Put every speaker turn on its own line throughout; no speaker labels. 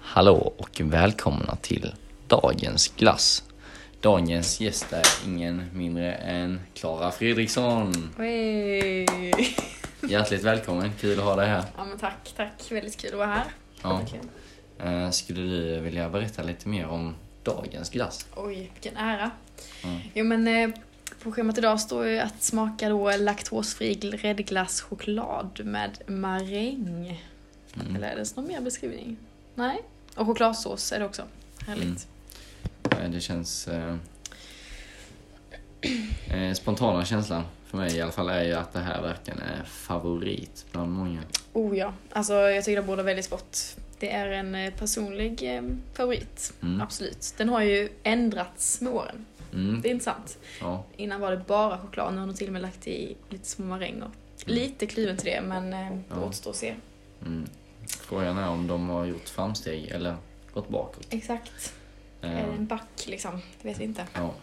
Hallå och välkomna till dagens glass. Dagens gäst är ingen mindre än Klara Fredriksson.
Hey.
Hjärtligt välkommen, kul att ha dig här.
Ja men tack, tack. Väldigt kul att vara här.
Ja. Eh, Skulle du vilja berätta lite mer om dagens glass?
Oj, vilken ära.
Mm.
Jo men eh, på schemat idag står ju att smaka då laktosfri gräddglasschoklad med maräng.
Mm.
Eller är det någon mer beskrivning? Nej. Och chokladsås är det också. Härligt.
Mm. Eh, Det känns... eh, eh, Spontana känslan för mig i alla fall är ju att det här verkligen är favorit bland många.
Oh ja, alltså jag tycker det båda väldigt gott. Det är en eh, personlig eh, favorit,
Mm.
absolut. Den har ju ändrats med åren.
Mm,
Det är intressant.
ja.
Innan var det bara choklad, nu har de till och med lagt i lite små maränger. Lite kluven till det, men eh, det
Mm. Ja.
återstår att se.
mm. Frågan är om de har gjort framsteg eller gått bakåt.
Exakt.
Eh,
Är det en back liksom? Det vet vi inte.
Ja,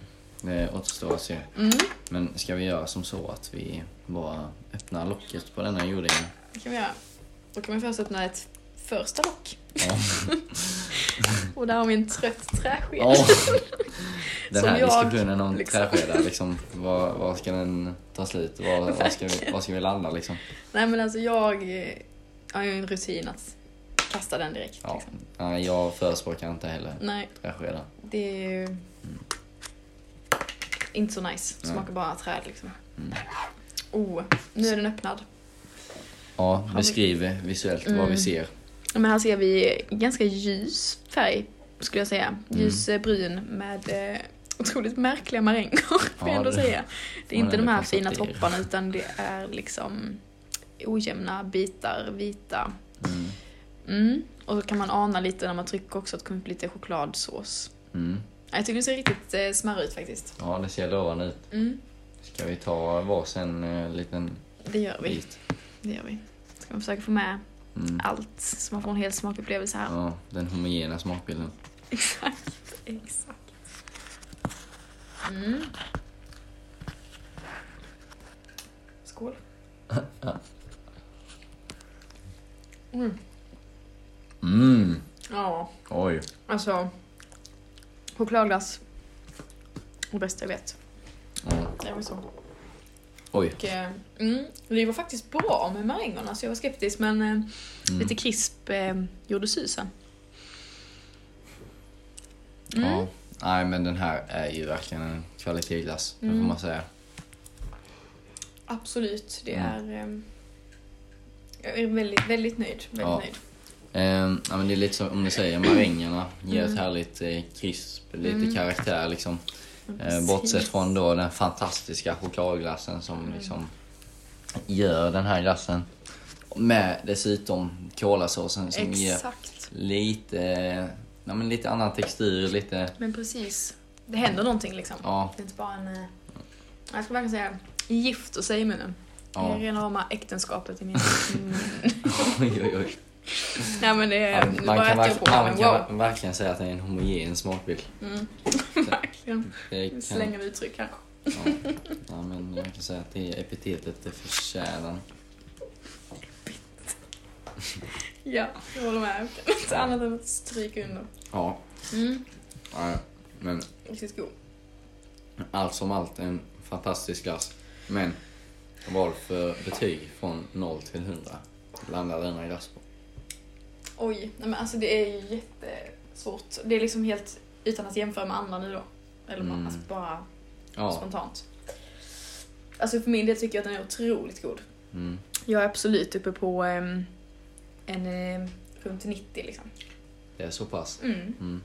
det Eh, återstår att se.
Mm,
Men ska vi göra som så att vi bara öppnar locket på denna jordingen?
det kan vi göra. Då kan vi först öppna ett första lock.
Ja.
Och där har vi en trött träsked.
Mm. Ja. Den
Som
här
jag,
diskussionen om
liksom.
träskedar, liksom, var, var ska den ta slut? Var, var, ska, vi, var ska vi landa liksom?
Nej men alltså jag eh, har ju en rutin att kasta den direkt.
Ja.
Liksom.
Nej, jag förespråkar inte heller
Nej,
träskedar.
det är ju inte så nice.
Mm. Nej.
Smakar bara träd liksom.
Mm.
Oh, nu är den öppnad.
Ja, beskriv visuellt
Mm.
vad vi ser.
Men här ser vi ganska ljus färg skulle jag säga. Ljus eh, brun med eh, otroligt märkliga maränger får
Ja,
jag ändå
det
säga. Det är
man
inte de
ändå
här fina
konstatera.
topparna utan det är liksom ojämna bitar, vita.
Mm.
Mm. Och så kan man ana lite när man trycker också att det kommer upp lite chokladsås.
Mm.
Ja, Jag tycker det ser riktigt eh, smarrigt ut faktiskt.
Ja, det ser lovande ut.
Mm.
Ska vi ta varsin eh, liten
Det gör vi.
bit?
Det gör vi. Ska man försöka få med
Mm.
allt så man får en hel smakupplevelse här.
Ja, den homogena smakbilden.
Exakt, exakt. Mm. Skål. Mm.
Mm,
Ja,
oj.
alltså. Chokladglass. Det bästa jag vet.
Ja.
Det var så.
Oj.
Och, eh, mm, det var faktiskt bra med marängerna så jag var skeptisk men eh,
Mm.
lite krisp eh, gjorde susen. Mm.
Ja. Nej men den här är ju verkligen en kvalitetsglass, det får
Mm.
man säga.
Absolut, det
Mm.
är... ehm, Jag är väldigt, väldigt nöjd. Väldigt
Ja.
nöjd.
Ehm, ja, men det är lite som om du säger, marängerna ger
Mm.
ett härligt eh, krisp, lite
Mm.
karaktär liksom. Eh,
Precis.
bortsett från då den fantastiska chokladglassen som
Mm.
liksom gör den här glassen. Med dessutom kolasåsen som ger
Exakt.
lite, eh, ja, men lite annan textur, lite,
Men precis. Det händer någonting liksom.
ja,
Det är inte bara en... eh, Jag ska verkligen säga gifter sig i munnen. Det är
ja.
rena rama äktenskapet i min mun.
oj, oj, oj.
Nej men det
Ja,
är... nu
man
Eh, bara
kan,
äter jag
verk-
på
man
men
kan
wow.
ver- verkligen säga att det är en homogen smakbild.
Mm. verkligen.
Det
Vi
kan-
slänger uttryck här.
Ja. ja, men jag kan säga att det epitetet det förtjänar.
Ja, jag håller med. Jag kan inte annat än att stryka under.
Ja,
Mm.
ja, men
Riktigt god.
allt som allt en fantastisk glass. Men vad för betyg från 0 till 100 landar denna glass på?
Oj, nej men alltså det är ju jättesvårt. Det är liksom helt utan att jämföra med andra nu då. Eller bara,
Mm.
alltså bara
Ja,
spontant. Alltså för min del tycker jag att den är otroligt god.
mm,
Jag är absolut uppe på ehm, en eh, runt 90 liksom.
det är så pass.
Mm.
Mm,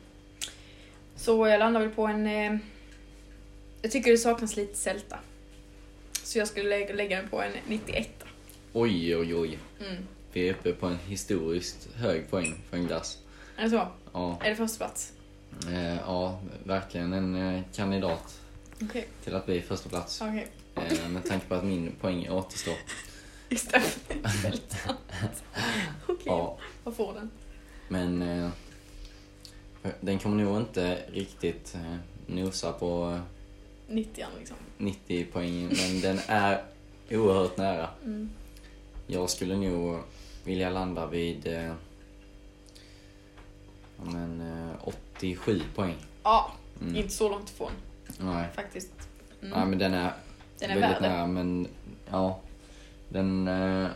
Så jag landar väl på en... ehm, jag tycker det saknas lite sälta. Så jag skulle lägga, lägga den på en 91.
oj, oj, oj.
Mm.
Vi är uppe på en historiskt hög poäng för en glass.
Är det så?
Ja,
Är det första plats?
eh, ja verkligen en eh, kandidat
Okej.
till att bli första plats.
Okej.
Eh, med tanke på att min poäng återstår.
Istället för sälta. Okej,
Ja,
vad får den?
Men eh, den kommer nog inte riktigt eh, nosa på eh,
90 liksom.
90 poäng, men den är oerhört nära.
Mm.
Jag skulle nog vilja landa vid... Eh, ja, 87 poäng.
Ja,
Mm.
inte så långt ifrån
Nej.
faktiskt. Mm.
Nej men den är,
Den är
väldigt
värd det.
nära men ja. Den eh,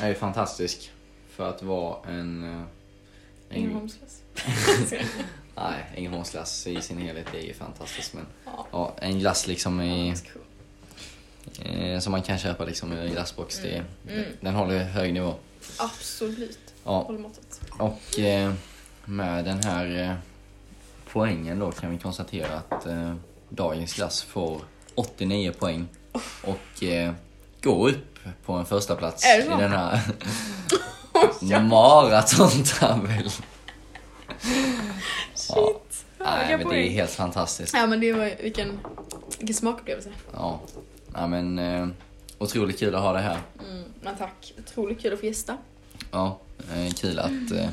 är ju fantastisk för att vara en... eh, en
Ängelholmsglass.
nej, Ängelholmsglass i sin helhet är ju fantastisk men
Ja.
ja, en glass liksom i,
ganska cool.
eh, som man kan köpa liksom i en glassbox. Det,
Mm.
den- Den håller hög nivå.
Absolut.
Ja,
Håller måttet.
och eh, med den här eh, poängen då kan vi konstatera att eh, dagens glass får 89 poäng och eh, går upp på en första plats
Är det
i
så?
den här maratontabellen. Ja.
Shit.
Nej, men
Höga
det är
poäng.
helt fantastiskt.
Ja men det var ju- vilken, vilken smakupplevelse.
Ja, ja men eh, otroligt kul att ha det här.
Mm, men tack. Otroligt kul att få gästa.
Ja, eh, kul att eh,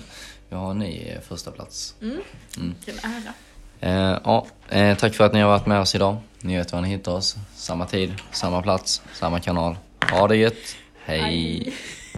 vi har en ny eh, första plats.
Mm.
Mm.
Vilken ära.
Eh, ja, eh, tack för att ni har varit med oss idag. Ni vet var ni hittar oss. Samma tid, samma plats, samma kanal. Ha det gött. Hej.
Hej.